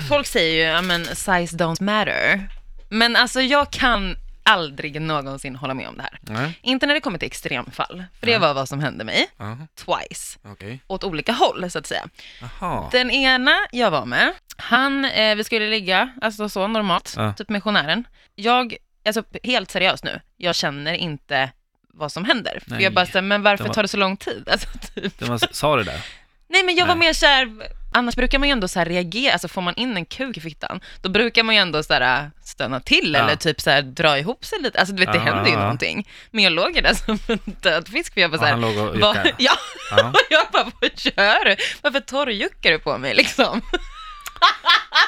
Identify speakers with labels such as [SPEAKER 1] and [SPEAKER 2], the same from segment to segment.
[SPEAKER 1] folk säger ju, ja men size don't matter. Men alltså jag kan aldrig någonsin hålla med om det här.
[SPEAKER 2] Nej,
[SPEAKER 1] Inte när det kommer till extremfall, för det var vad som hände mig.
[SPEAKER 2] Aha,
[SPEAKER 1] Twice.
[SPEAKER 2] okej.
[SPEAKER 1] Åt olika håll, så att säga.
[SPEAKER 2] Jaha.
[SPEAKER 1] Den ena jag var med, han, eh, vi skulle ligga, alltså så normalt,
[SPEAKER 2] Ja.
[SPEAKER 1] typ missionären. Jag, alltså helt seriöst nu, jag känner inte vad som händer. För
[SPEAKER 2] Nej.
[SPEAKER 1] jag bara såhär, men varför
[SPEAKER 2] Det var-
[SPEAKER 1] tar det så lång tid? Alltså, typ.
[SPEAKER 2] Det var, sa det där?
[SPEAKER 1] Nej men jag var
[SPEAKER 2] Nej.
[SPEAKER 1] mer såhär, annars brukar man ju ändå såhär reagera, alltså får man in en kuk i fittan, då brukar man ju ändå såhär stöna till
[SPEAKER 2] Ja.
[SPEAKER 1] eller typ såhär dra ihop sig lite, alltså du vet det
[SPEAKER 2] Ja,
[SPEAKER 1] händer ju
[SPEAKER 2] ja, ja.
[SPEAKER 1] någonting. Men jag låg ju där som en död fisk för jag bara
[SPEAKER 2] Ja,
[SPEAKER 1] såhär,
[SPEAKER 2] han låg och
[SPEAKER 1] vad-
[SPEAKER 2] juckade.
[SPEAKER 1] ja,
[SPEAKER 2] Ja.
[SPEAKER 1] och jag bara, vad gör du? Varför torrjuckar du på mig liksom?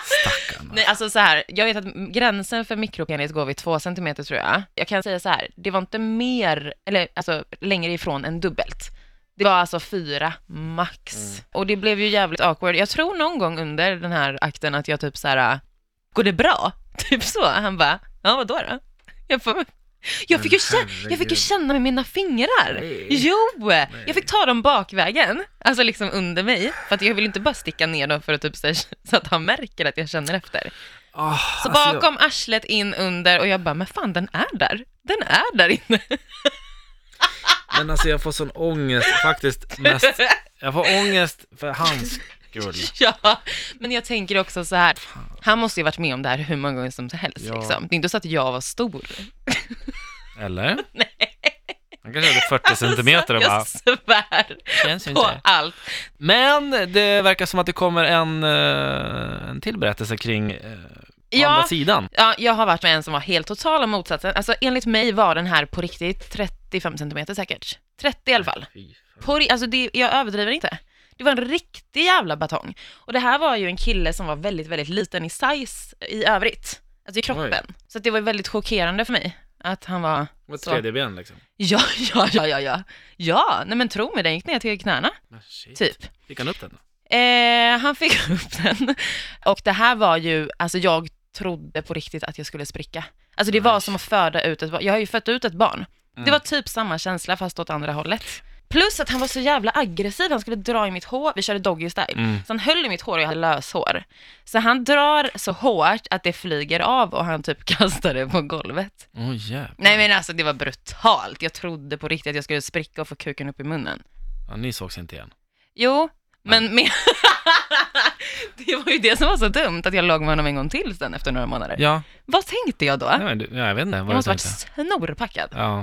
[SPEAKER 2] Stackarn.
[SPEAKER 1] Nej, alltså så här, jag vet att m- gränsen för mikropenis går vid två centimeter tror jag. Jag kan säga så här, det var inte mer, eller alltså längre ifrån än dubbelt. Det var alltså fyra max.
[SPEAKER 2] Mm.
[SPEAKER 1] Och det blev ju jävligt awkward. Jag tror någon gång under den här akten att jag typ så här, går det bra? Typ så. Han bara, ja vadå då? Jag, får, jag, fick ju känna, jag fick ju
[SPEAKER 2] herregud.
[SPEAKER 1] känna med mina fingrar.
[SPEAKER 2] Nej.
[SPEAKER 1] Jo! Jag fick ta dem bakvägen, alltså liksom under mig. För att jag vill inte bara sticka ner dem för att typ så, här, så att han märker att jag känner efter.
[SPEAKER 2] Oh,
[SPEAKER 1] Så bakom arslet in under och jag bara, men fan den är där. Den är där inne.
[SPEAKER 2] Jag, men alltså jag får sån ångest faktiskt mest. Jag får ångest för hans skull.
[SPEAKER 1] ja, men jag tänker också så här, han måste ju varit med om det här hur många gånger som helst
[SPEAKER 2] Ja.
[SPEAKER 1] liksom. Det är inte så att jag var stor.
[SPEAKER 2] Eller? Nej. Han kanske hade 40 centimeter och
[SPEAKER 1] Alltså,
[SPEAKER 2] bara,
[SPEAKER 1] jag svär
[SPEAKER 2] känns ju
[SPEAKER 1] på
[SPEAKER 2] inte.
[SPEAKER 1] allt.
[SPEAKER 2] Men det verkar som att det kommer en, eh, en till berättelse kring eh, på
[SPEAKER 1] Ja.
[SPEAKER 2] andra sidan.
[SPEAKER 1] Ja, jag har varit med en som var helt totala motsatsen. Alltså enligt mig var den här på riktigt 35 centimeter säkert. 30 i alla fall. På, ri- alltså det, jag överdriver inte. Det var en riktig jävla batong. Och det här var ju en kille som var väldigt, väldigt liten i size i övrigt. Alltså i kroppen. Så att det var väldigt chockerande för mig att han var...
[SPEAKER 2] Mot
[SPEAKER 1] Så.
[SPEAKER 2] tredje ben liksom.
[SPEAKER 1] Ja, ja, ja, ja, ja. Ja, nej men tro mig, den gick ner till knäna,
[SPEAKER 2] Men Ah, shit.
[SPEAKER 1] typ.
[SPEAKER 2] Fick han upp den?
[SPEAKER 1] Eh, han fick upp den. Och det här var ju, alltså jag trodde på riktigt att jag skulle spricka. Alltså det var
[SPEAKER 2] Nice.
[SPEAKER 1] som att föda ut ett barn. Jag har ju fött ut ett barn.
[SPEAKER 2] Mm.
[SPEAKER 1] Det var typ samma känsla fast åt andra hållet. Plus att han var så jävla aggressiv, han skulle dra i mitt hår, vi körde doggy style.
[SPEAKER 2] Mm.
[SPEAKER 1] Så han höll i mitt hår och jag hade löshår. Så han drar så hårt att det flyger av och han typ kastar det på golvet.
[SPEAKER 2] Åh oh, jävlar.
[SPEAKER 1] Nej men alltså det var brutalt, jag trodde på riktigt att jag skulle spricka och få kuken upp i munnen.
[SPEAKER 2] Ja, ni sågs inte igen.
[SPEAKER 1] Jo, men med... det var ju det som var så dumt, att jag låg med honom en gång till sen efter några månader.
[SPEAKER 2] Ja,
[SPEAKER 1] Vad tänkte jag då?
[SPEAKER 2] nej, men, du- ja, jag vet inte vad
[SPEAKER 1] jag
[SPEAKER 2] du
[SPEAKER 1] måste varit
[SPEAKER 2] tänkte.
[SPEAKER 1] snorpackad.
[SPEAKER 2] Ja.